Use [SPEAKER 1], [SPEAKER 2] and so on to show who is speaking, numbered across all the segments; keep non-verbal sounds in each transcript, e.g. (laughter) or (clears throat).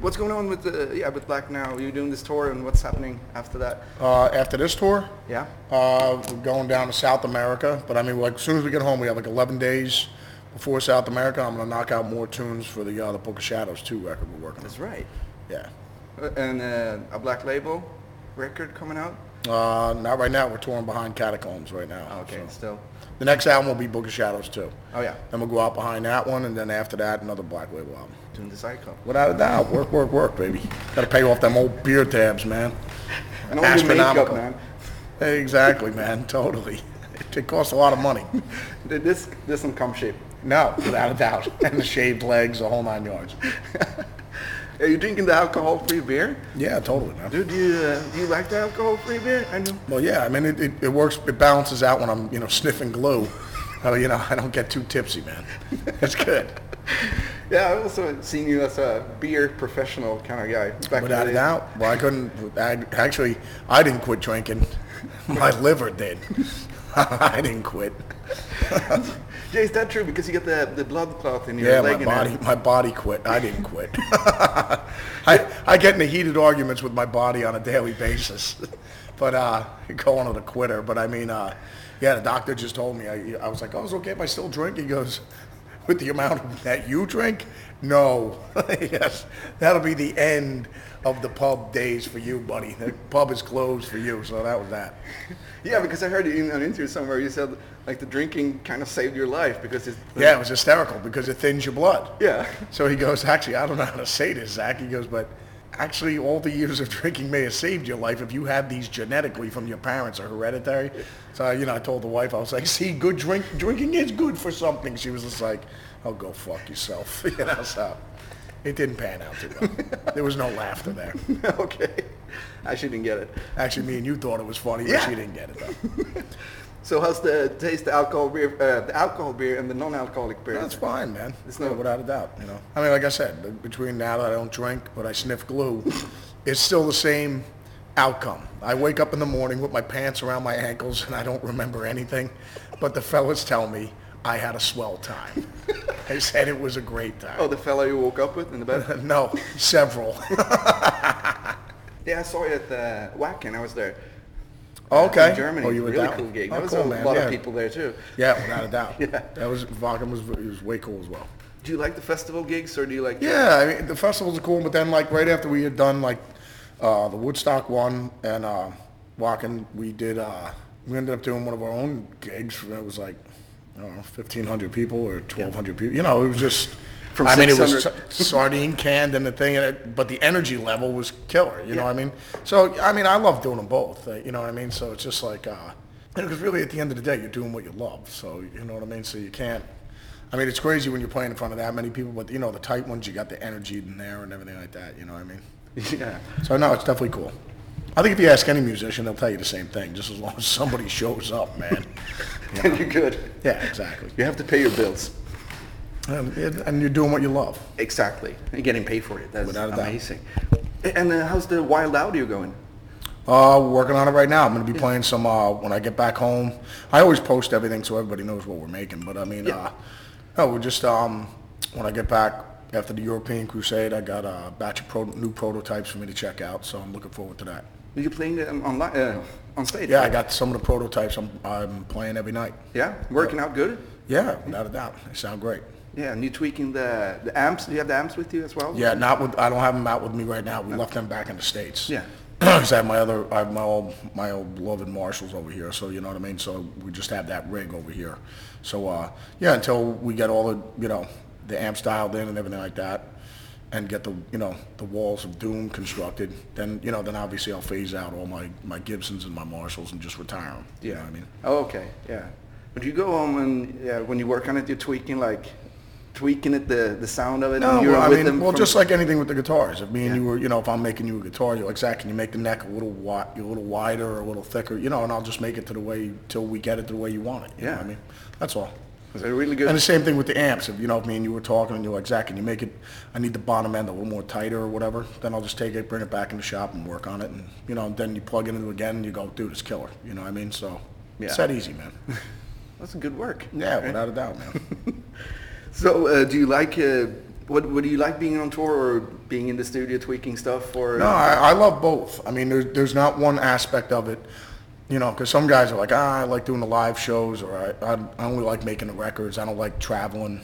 [SPEAKER 1] What's going on with the yeah with Black now? You're doing this tour, and what's happening after that?
[SPEAKER 2] Uh, after this tour,
[SPEAKER 1] Yeah.
[SPEAKER 2] uh, we're going down to South America, but I mean, like, as soon as we get home, we have like 11 days before South America. I'm gonna knock out more tunes for the uh, the Book of Shadows 2 record we're working on.
[SPEAKER 1] That's right.
[SPEAKER 2] Yeah.
[SPEAKER 1] Uh, And uh, a Black Label record coming out.
[SPEAKER 2] Uh, not right now. We're touring behind Catacombs right now.
[SPEAKER 1] Oh, okay,
[SPEAKER 2] so.
[SPEAKER 1] still.
[SPEAKER 2] The next album will be Book of Shadows 2.
[SPEAKER 1] Oh yeah,
[SPEAKER 2] Then we'll go out behind that one, and then after that, another Black Label album.
[SPEAKER 1] doing the (laughs) cycle.
[SPEAKER 2] Without a doubt, work, work, work, baby. Gotta pay off them old beer tabs, man.
[SPEAKER 1] And all your makeup,
[SPEAKER 2] Astronomical.
[SPEAKER 1] man.
[SPEAKER 2] Exactly, man. (laughs) Totally. It costs a lot of money.
[SPEAKER 1] Th- This this some cum shape. (laughs)
[SPEAKER 2] No, without a doubt. (laughs) And the shaved legs, the whole nine yards.
[SPEAKER 1] Are you drinking the alcohol-free beer?
[SPEAKER 2] Yeah, totally, man.
[SPEAKER 1] Dude, do you, uh, do you like the alcohol-free beer? I know.
[SPEAKER 2] Well, yeah, I mean, it, it, it works, it balances out when I'm, you know, sniffing glue. Uh, you know, (laughs) I don't get too tipsy, man. It's good.
[SPEAKER 1] Yeah, I've also seen you as a beer professional kind of guy. Back in the
[SPEAKER 2] Without a
[SPEAKER 1] day.
[SPEAKER 2] doubt. Well, I couldn't, I, actually, I didn't quit drinking. My liver did. (laughs) I didn't quit.
[SPEAKER 1] Jay, is that true? Because you got the, the blood clot in your
[SPEAKER 2] Yeah,
[SPEAKER 1] leg.
[SPEAKER 2] my
[SPEAKER 1] and
[SPEAKER 2] body,
[SPEAKER 1] everything.
[SPEAKER 2] my body quit. I didn't quit. (laughs) I, I get into heated arguments with my body on a daily basis, (laughs) but uh, calling it a quitter. But I mean, uh, yeah, the doctor just told me. I, I was like, oh, it's okay if I still drink. He goes, (laughs) with the amount that you drink, no, (laughs) yes, that'll be the end of the pub days for you, buddy. The pub is closed for you. So that was that.
[SPEAKER 1] Yeah, because I heard in an interview somewhere you said like the drinking kind of saved your life because it's
[SPEAKER 2] Yeah, it was hysterical because it thins your blood.
[SPEAKER 1] (laughs) yeah.
[SPEAKER 2] So he goes, actually, I don't know how to say this, Zach. He goes, but actually, all the years of drinking may have saved your life if you had these genetically from your parents or hereditary. So, you know, I told the wife, I was like, see, good drink, drinking is good for something. She was just like, oh, go fuck yourself. (laughs) You know, so it didn't pan out too well. there was no laughter there.
[SPEAKER 1] (laughs) okay, I shouldn't get it.
[SPEAKER 2] Actually, me and you thought it was funny, but
[SPEAKER 1] Yeah.
[SPEAKER 2] she didn't get it, though.
[SPEAKER 1] So how's the taste the alcohol beer, uh, the alcohol beer and the non-alcoholic beer?
[SPEAKER 2] That's fine, man.
[SPEAKER 1] It's
[SPEAKER 2] It's
[SPEAKER 1] not-
[SPEAKER 2] not without a doubt, you know. I mean, like I said, b- between now that I don't drink, but I sniff glue, it's still the same outcome. I wake up in the morning with my pants around my ankles and I don't remember anything, but the fellas tell me I had a swell
[SPEAKER 1] (laughs)
[SPEAKER 2] time. they said it was a great time.
[SPEAKER 1] Oh, the fellow you woke up with in the bed?
[SPEAKER 2] (laughs) No, several.
[SPEAKER 1] yeah, I saw you at the Wacken. I was there. uh,
[SPEAKER 2] okay.
[SPEAKER 1] In Germany.
[SPEAKER 2] Oh, you were
[SPEAKER 1] really
[SPEAKER 2] down.
[SPEAKER 1] cool gig.
[SPEAKER 2] Oh,
[SPEAKER 1] there was
[SPEAKER 2] cool,
[SPEAKER 1] a
[SPEAKER 2] man.
[SPEAKER 1] lot
[SPEAKER 2] yeah.
[SPEAKER 1] of people there too.
[SPEAKER 2] Yeah, without a doubt.
[SPEAKER 1] (laughs) Yeah.
[SPEAKER 2] That was, Vakken was, it was way cool as well.
[SPEAKER 1] Do you like the festival gigs or do you like?
[SPEAKER 2] Yeah, I mean the festivals are cool, but then like right after we had done like uh, the Woodstock one and uh, Walking, we did uh, we ended up doing one of our own gigs. It was like I don't know, fifteen hundred people or twelve hundred people. You know, it was just.
[SPEAKER 1] From
[SPEAKER 2] I mean, it was
[SPEAKER 1] 600.
[SPEAKER 2] sa- (laughs) sardine canned and the thing, and it, but the energy level was killer. You know what I mean? So I mean, I love doing them both. uh, You know what I mean? So it's just like, uh, because really at the end of the day, you're doing what you love. So you know what I mean? So you can't. I mean, it's crazy when you're playing in front of that many people, but you know the tight ones, you got the energy in there and everything like that. You know what I mean?
[SPEAKER 1] (laughs)
[SPEAKER 2] (laughs)
[SPEAKER 1] yeah. (laughs)
[SPEAKER 2] So no, it's definitely cool. I think if you ask any musician, they'll tell you the same thing. Just as long as somebody (laughs) shows up, man.
[SPEAKER 1] Then you're good.
[SPEAKER 2] yeah, exactly.
[SPEAKER 1] You have to pay your bills.
[SPEAKER 2] And, and you're doing what you love.
[SPEAKER 1] Exactly. And getting paid for it. That's
[SPEAKER 2] Without a doubt.
[SPEAKER 1] amazing. And uh, how's the wild audio going?
[SPEAKER 2] Uh, we're working on it right now. I'm going to be playing some uh, when I get back home. I always post everything so everybody knows what we're making. But I mean,
[SPEAKER 1] Yeah.
[SPEAKER 2] uh, no, we're just um, when I get back after the European Crusade, I got a batch of pro- new prototypes for me to check out. So I'm looking forward to that.
[SPEAKER 1] Are you playing it online uh, on stage?
[SPEAKER 2] Yeah, I got some of the prototypes. I'm I'm playing every night.
[SPEAKER 1] Yeah, working out good.
[SPEAKER 2] Yeah, without a doubt, they sound great.
[SPEAKER 1] Yeah, and you tweaking the the amps. Do you have the amps with you as well?
[SPEAKER 2] Yeah, not with I don't have them out with me right now. We left them back in the states.
[SPEAKER 1] Yeah.
[SPEAKER 2] (clears throat) 'Cause I have my other, I have my old, my old beloved Marshalls over here. So you know what I mean. So we just have that rig over here. So uh, yeah, until we get all the, you know, the amps dialed in and everything like that, and get the, you know, the walls of doom constructed, then you know, then obviously I'll phase out all my my Gibsons and my Marshalls and just retire them. You know what I mean.
[SPEAKER 1] Oh, okay. Yeah. But you go home and yeah, when you work on it, you're tweaking like tweaking it the the sound of it.
[SPEAKER 2] No,
[SPEAKER 1] and you're
[SPEAKER 2] well, I
[SPEAKER 1] with
[SPEAKER 2] mean,
[SPEAKER 1] them
[SPEAKER 2] well,
[SPEAKER 1] from-
[SPEAKER 2] just like anything with the guitars. If me and
[SPEAKER 1] Yeah.
[SPEAKER 2] you were, you know, if I'm making you a guitar, you're like, Zach, can you make the neck a little wi- a little wider or a little thicker, you know, and I'll just make it to the way till we get it to the way you want it. you know
[SPEAKER 1] Yeah.
[SPEAKER 2] what I mean, that's all.
[SPEAKER 1] Is it really good?
[SPEAKER 2] And the same thing with the amps. If you know, if me and you were talking, and you're like, Zach, can you make it? I need the bottom end a little more tighter or whatever. Then I'll just take it, bring it back in the shop, and work on it. And you know, then you plug it into again, and you go, dude, it's killer. You know what I mean? So
[SPEAKER 1] Yeah.
[SPEAKER 2] it's that easy,
[SPEAKER 1] (laughs)
[SPEAKER 2] man.
[SPEAKER 1] That's good work.
[SPEAKER 2] yeah, without a doubt, man.
[SPEAKER 1] So, uh, do you like uh, What, what do you like being on tour or being in the studio tweaking stuff? Or
[SPEAKER 2] No, I, I love both. I mean, there's there's not one aspect of it, you know, because some guys are like, ah, I like doing the live shows, or I I, I only like making the records. I don't like traveling.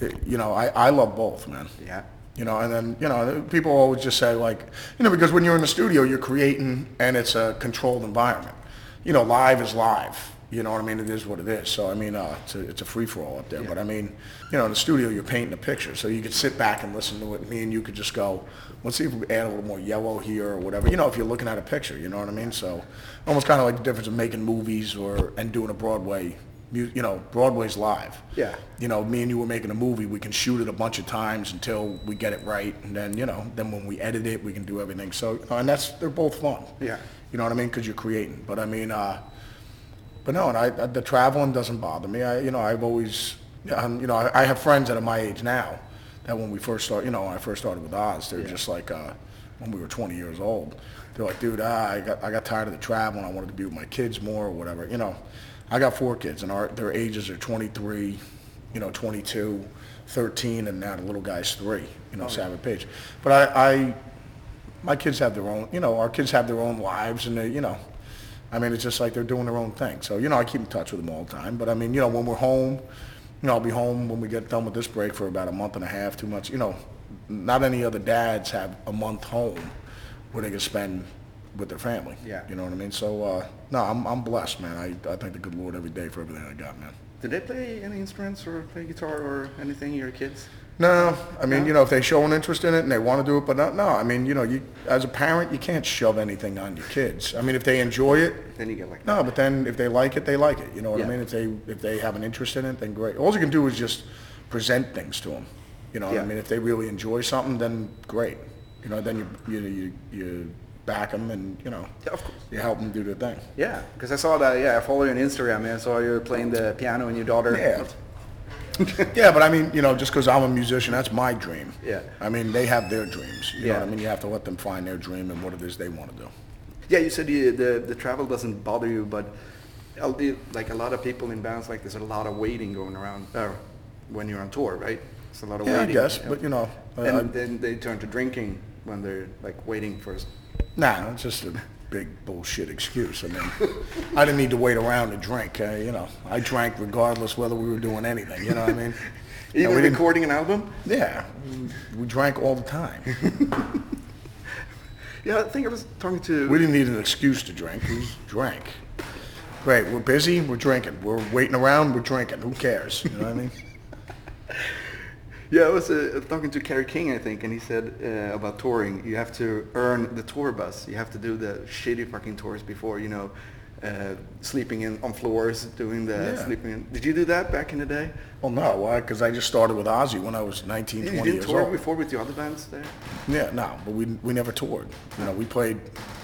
[SPEAKER 2] It- you know, I, I love both, man.
[SPEAKER 1] yeah,
[SPEAKER 2] You know, and then you know, people always just say like, you know, because when you're in the studio, you're creating, and it's a controlled environment. You know, live is live. You know what I mean? It is what it is. So I mean, uh, it's a it's a free for all up there. But I mean, you know, in the studio, you're painting a picture, so you could sit back and listen to it. Me and you could just go, let's see if we add a little more yellow here or whatever. You know, if you're looking at a picture, you know what I mean? So almost kind of like the difference of making movies or and doing a Broadway. mu- You know, Broadway's live
[SPEAKER 1] Yeah.
[SPEAKER 2] you know, me and you were making a movie, we can shoot it a bunch of times until we get it right, and then, you know, then when we edit it, we can do everything. So, and that's, they're both fun.
[SPEAKER 1] Yeah.
[SPEAKER 2] You know what I mean? Because you're creating. But I mean, uh, but no, and I, I- the traveling doesn't bother me. I, you know, I've always, um, you know, I, I have friends that are my age now that when we first start, you know, when I first started with Oz, they're just like, uh, when we were 20 years old, they're like, dude, ah, I got, I got tired of the traveling. I wanted to be with my kids more or whatever. You know, I got four kids and our, their ages are 23, you know, 22, 13, and now the little guy's three, you know, Savage Page. But I, I, my kids have their own, you know, our kids have their own lives and they, you know, I mean, it's just like they're doing their own thing. So, you know, I keep in touch with them all the time. But I mean, you know, when we're home, you know, I'll be home when we get done with this break for about a month and a half, two months. You know, not any other dads have a month home where they can spend with their family.
[SPEAKER 1] Yeah.
[SPEAKER 2] You know what I mean? So, uh, no, I'm, I'm blessed, man. I, I thank the good Lord every day for everything I got, man.
[SPEAKER 1] did they play any instruments or play guitar or anything? Your kids?
[SPEAKER 2] No, I mean,
[SPEAKER 1] No?
[SPEAKER 2] you know, if they show an interest in it and they want to do it, but not, no, I mean, you know, you as a parent, you can't shove anything on your kids. I mean, if they enjoy it,
[SPEAKER 1] Then you get like
[SPEAKER 2] no, but then if they like it, they like it. You know what I
[SPEAKER 1] Yeah.
[SPEAKER 2] mean? If they if they have an interest in it, then great. All you can do is just present things to them. You know what
[SPEAKER 1] Yeah.
[SPEAKER 2] I mean? If they really enjoy something, then great. You know, then you you you, you back them and you know
[SPEAKER 1] Yeah, of course.
[SPEAKER 2] you help them do their thing.
[SPEAKER 1] Yeah, because I saw that. Yeah, I follow you on Instagram. And I saw you were playing the piano and your daughter.
[SPEAKER 2] Yeah. yeah, but I mean, you know, just because I'm a musician, that's my dream.
[SPEAKER 1] Yeah.
[SPEAKER 2] I mean, they have their dreams. You know
[SPEAKER 1] Yeah.
[SPEAKER 2] what I mean? You have to let them find their dream and what it is they want to do.
[SPEAKER 1] Yeah, you said you, the the travel doesn't bother you, but I'll be- like a lot of people in bands, like there's a lot of waiting going around uh, when you're on tour, right? It's a lot of
[SPEAKER 2] Yeah, I
[SPEAKER 1] waiting.
[SPEAKER 2] guess, but uh, you know, I-
[SPEAKER 1] and
[SPEAKER 2] I-
[SPEAKER 1] then they turn to drinking when they're like waiting for. s-
[SPEAKER 2] Nah, it's just a big bullshit excuse.
[SPEAKER 1] (laughs)
[SPEAKER 2] I mean, I didn't need to wait around to drink. Uh, you know, I drank regardless whether we were doing anything. You know what I mean? You
[SPEAKER 1] (laughs)
[SPEAKER 2] know,
[SPEAKER 1] Even
[SPEAKER 2] we didn't-
[SPEAKER 1] recording an album.
[SPEAKER 2] yeah, we drank all the time.
[SPEAKER 1] Yeah, I think I was talking to.
[SPEAKER 2] We didn't need an excuse to drink. We drank. Great, we're busy, we're drinking. We're waiting around, we're drinking. Who cares? You know what I mean?
[SPEAKER 1] yeah, I was uh, talking to Kerry King, I think, and he said uh, about touring, you have to earn the tour bus. You have to do the shitty fucking tours before, you know. Uh, sleeping in on floors, doing the
[SPEAKER 2] Yeah.
[SPEAKER 1] sleeping. In. Did you do that back in the day?
[SPEAKER 2] Well, no, why? Because I just started with Ozzy when I was 19,
[SPEAKER 1] You
[SPEAKER 2] 20
[SPEAKER 1] didn't
[SPEAKER 2] years
[SPEAKER 1] tour
[SPEAKER 2] old.
[SPEAKER 1] before with the other bands there?
[SPEAKER 2] Yeah, no, but we, we never toured. You know, we played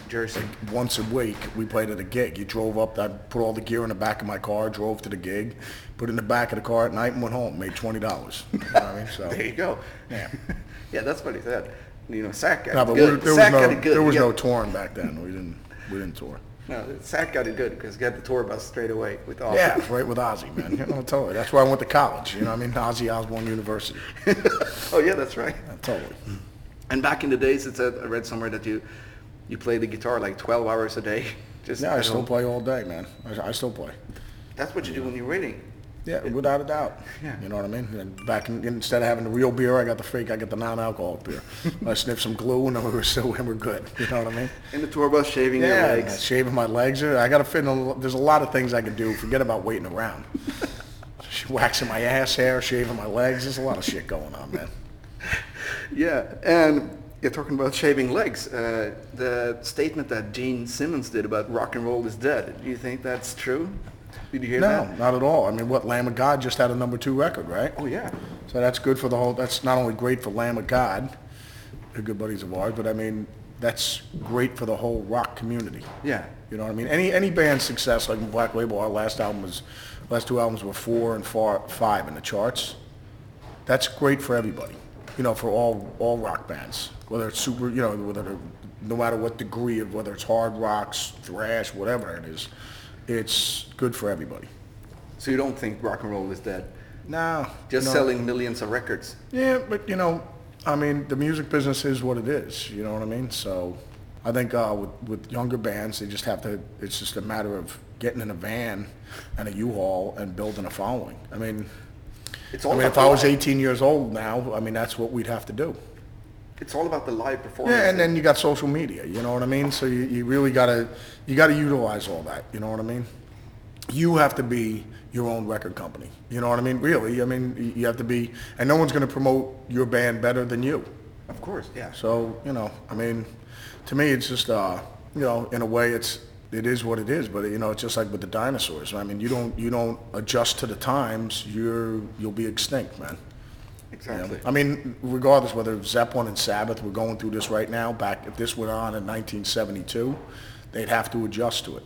[SPEAKER 1] Jersey.
[SPEAKER 2] once a week we played at a gig. You drove up, I put all the gear in the back of my car, drove to the gig, put it in the back of the car at night and went home, made twenty dollars. You know what I mean?
[SPEAKER 1] (laughs)
[SPEAKER 2] So
[SPEAKER 1] There you go.
[SPEAKER 2] Yeah.
[SPEAKER 1] yeah, that's what he said. You know, Sack got
[SPEAKER 2] No,
[SPEAKER 1] it
[SPEAKER 2] but we-
[SPEAKER 1] good.
[SPEAKER 2] there was
[SPEAKER 1] Sack
[SPEAKER 2] no
[SPEAKER 1] got it good.
[SPEAKER 2] there was
[SPEAKER 1] He
[SPEAKER 2] no
[SPEAKER 1] got-
[SPEAKER 2] touring back then. We didn't we didn't tour.
[SPEAKER 1] no, Sack got it good because got the tour bus straight away with all.
[SPEAKER 2] Yeah, right with Ozzy, man. You know, totally. That's where I went to college. You know, what I mean, Ozzy
[SPEAKER 1] (laughs)
[SPEAKER 2] Osbourne University.
[SPEAKER 1] (laughs) oh yeah, that's right.
[SPEAKER 2] Totally.
[SPEAKER 1] And back in the days, it said I read somewhere that you you play the guitar like 12 hours a day. (laughs) Just
[SPEAKER 2] Yeah, I
[SPEAKER 1] at
[SPEAKER 2] still
[SPEAKER 1] home.
[SPEAKER 2] play all day, man. I, I still play.
[SPEAKER 1] That's what you do when you're waiting.
[SPEAKER 2] Yeah, without a doubt.
[SPEAKER 1] Yeah.
[SPEAKER 2] You know what I mean? And back in, instead of having the real beer, I got the fake. I got the
[SPEAKER 1] (laughs)
[SPEAKER 2] non-alcoholic beer. I sniffed some glue, and then we were still (laughs) and we're good. You know what I mean?
[SPEAKER 1] In the tour bus, shaving
[SPEAKER 2] Yeah,
[SPEAKER 1] your legs.
[SPEAKER 2] shaving my legs. I got to fit in. A, there's a lot of things I can do. Forget about waiting
[SPEAKER 1] (laughs)
[SPEAKER 2] around. (laughs) Waxing my ass hair, shaving my legs. There's a lot of shit going on, man.
[SPEAKER 1] Yeah, and you're talking about shaving legs. Uh, the statement that Gene Simmons did about rock and roll is dead. Do you think that's true? Did you hear
[SPEAKER 2] No,
[SPEAKER 1] that?
[SPEAKER 2] not at all. I mean, what Lamb of God just had a number two record, right?
[SPEAKER 1] Oh yeah.
[SPEAKER 2] So that's good for the whole, that's not only great for Lamb of God, they're good buddies of ours, but I mean, that's great for the whole rock community.
[SPEAKER 1] Yeah.
[SPEAKER 2] You know what I mean? Any, any band's success, like Black Label, our last album was, last two albums were four and four, five in the charts. That's great for everybody, you know, for all, all rock bands, whether it's super, you know, whether, they're- no matter what degree of, whether it's hard rocks, thrash, whatever it is, it's good for everybody.
[SPEAKER 1] So you don't think rock and roll is dead?
[SPEAKER 2] No.
[SPEAKER 1] Just
[SPEAKER 2] no.
[SPEAKER 1] selling millions of records.
[SPEAKER 2] Yeah, but you know, I mean, the music business is what it is. You know what I mean? So, I think uh, with with younger bands, they just have to. It's just a matter of getting in a van and a U-Haul and building a following. I mean,
[SPEAKER 1] It's
[SPEAKER 2] I
[SPEAKER 1] all
[SPEAKER 2] mean,
[SPEAKER 1] about
[SPEAKER 2] if
[SPEAKER 1] the
[SPEAKER 2] I was
[SPEAKER 1] live-
[SPEAKER 2] 18 years old now, I mean, that's what we'd have to do.
[SPEAKER 1] It's all about the live performance.
[SPEAKER 2] Yeah, and then you got social media. You know what I mean? So you, you really gotta you gotta utilize all that. You know what I mean? You have to be your own record company. You know what I mean? Really? I mean, y- you have to be, and no one's gonna promote your band better than you.
[SPEAKER 1] of course, yeah.
[SPEAKER 2] So you know, I mean, to me, it's just uh, you know, in a way, it's it is what it is. But you know, it's just like with the dinosaurs. I mean, you don't you don't adjust to the times. You're you'll be extinct, man. You know?
[SPEAKER 1] Exactly.
[SPEAKER 2] I mean, regardless whether Zeppelin and Sabbath were going through this right now, back if this went on in 1972, they'd have to adjust to it.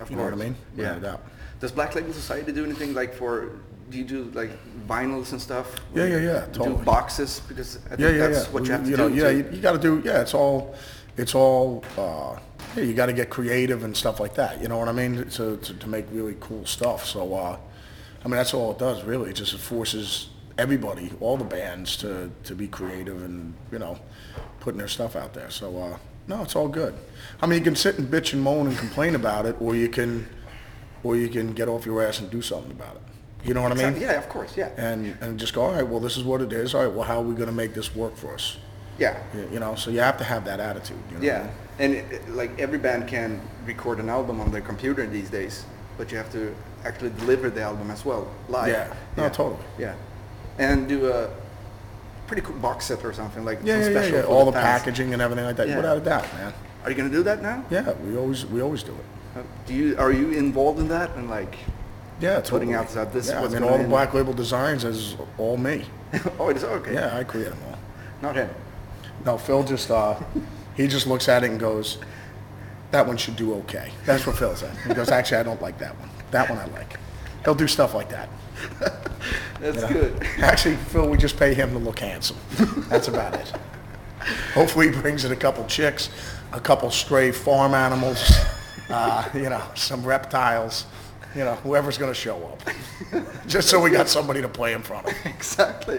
[SPEAKER 1] Of
[SPEAKER 2] You know what I
[SPEAKER 1] course.
[SPEAKER 2] mean?
[SPEAKER 1] Yeah.
[SPEAKER 2] Without a doubt.
[SPEAKER 1] Does Black Label Society do anything like for? Do you do like vinyls and stuff?
[SPEAKER 2] Yeah, yeah, yeah,
[SPEAKER 1] Do
[SPEAKER 2] totally.
[SPEAKER 1] boxes because I think
[SPEAKER 2] Yeah, yeah,
[SPEAKER 1] that's
[SPEAKER 2] yeah.
[SPEAKER 1] what you have to
[SPEAKER 2] know,
[SPEAKER 1] do.
[SPEAKER 2] yeah,
[SPEAKER 1] to-
[SPEAKER 2] you, you got to do. Yeah, it's all, it's all. Uh, yeah, you got to get creative and stuff like that. You know what I mean? To to, to make really cool stuff. So, uh, I mean, that's all it does really. It just forces everybody, all the bands, to to be creative and you know, putting their stuff out there. So, uh, no, it's all good. I mean, you can sit and bitch and moan and complain about it, or you can, or you can get off your ass and do something about it. You know what I mean?
[SPEAKER 1] Exactly. Yeah, of course. Yeah.
[SPEAKER 2] and and just go, all right, well, this is what it is. All right, well, how are we going to make this work for us?
[SPEAKER 1] Yeah.
[SPEAKER 2] Y- You know, so you have to have that attitude. You know?
[SPEAKER 1] Yeah. And it- it- like every band can record an album on their computer these days, but you have to actually deliver the album as well live.
[SPEAKER 2] Yeah. No, totally.
[SPEAKER 1] Yeah. And do a pretty cool box set or something like
[SPEAKER 2] Yeah, yeah,
[SPEAKER 1] some
[SPEAKER 2] yeah,
[SPEAKER 1] special
[SPEAKER 2] yeah.
[SPEAKER 1] for
[SPEAKER 2] All the
[SPEAKER 1] fans.
[SPEAKER 2] packaging and everything like that,
[SPEAKER 1] Yeah.
[SPEAKER 2] without a doubt, man.
[SPEAKER 1] Are you gonna do that now?
[SPEAKER 2] Yeah, we always we always do it.
[SPEAKER 1] Uh, Do you are you involved in that and like?
[SPEAKER 2] Yeah,
[SPEAKER 1] Putting
[SPEAKER 2] totally.
[SPEAKER 1] out that this is
[SPEAKER 2] yeah, I
[SPEAKER 1] what's
[SPEAKER 2] mean,
[SPEAKER 1] gonna
[SPEAKER 2] all the
[SPEAKER 1] end.
[SPEAKER 2] black label designs is all me.
[SPEAKER 1] (laughs) oh, it's okay.
[SPEAKER 2] Yeah, I create them all.
[SPEAKER 1] Not him.
[SPEAKER 2] No, Phil just uh, he just looks at it and goes, "That one should do okay." That's what Phil said. He goes, "Actually, I don't like that one. That one I like." He'll do stuff like that.
[SPEAKER 1] That's
[SPEAKER 2] Yeah.
[SPEAKER 1] good.
[SPEAKER 2] (laughs)
[SPEAKER 1] (laughs)
[SPEAKER 2] Actually, Phil, we just pay him to look handsome. That's about it. Hopefully, he brings in a couple chicks, a couple stray farm animals, uh, you know, some reptiles, you know, whoever's going to show up. Just so we got somebody to play in front of.
[SPEAKER 1] exactly.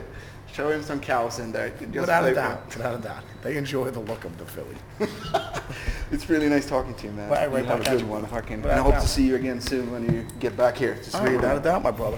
[SPEAKER 1] Show him some cows in there. Just
[SPEAKER 2] Without
[SPEAKER 1] play
[SPEAKER 2] a
[SPEAKER 1] with
[SPEAKER 2] doubt, without a doubt. They enjoy the look of the Philly.
[SPEAKER 1] it. It's really nice talking to you, man.
[SPEAKER 2] Right, right
[SPEAKER 1] you have a
[SPEAKER 2] back at
[SPEAKER 1] good
[SPEAKER 2] you.
[SPEAKER 1] one, Hawking. And
[SPEAKER 2] Without
[SPEAKER 1] I
[SPEAKER 2] a
[SPEAKER 1] hope to
[SPEAKER 2] doubt.
[SPEAKER 1] see you again soon when you get back here. Just
[SPEAKER 2] All right,
[SPEAKER 1] really
[SPEAKER 2] without a doubt, my brother.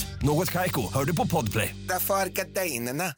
[SPEAKER 3] Något Kaiko, hör du på Podplay.
[SPEAKER 4] Därför arkadeinerna.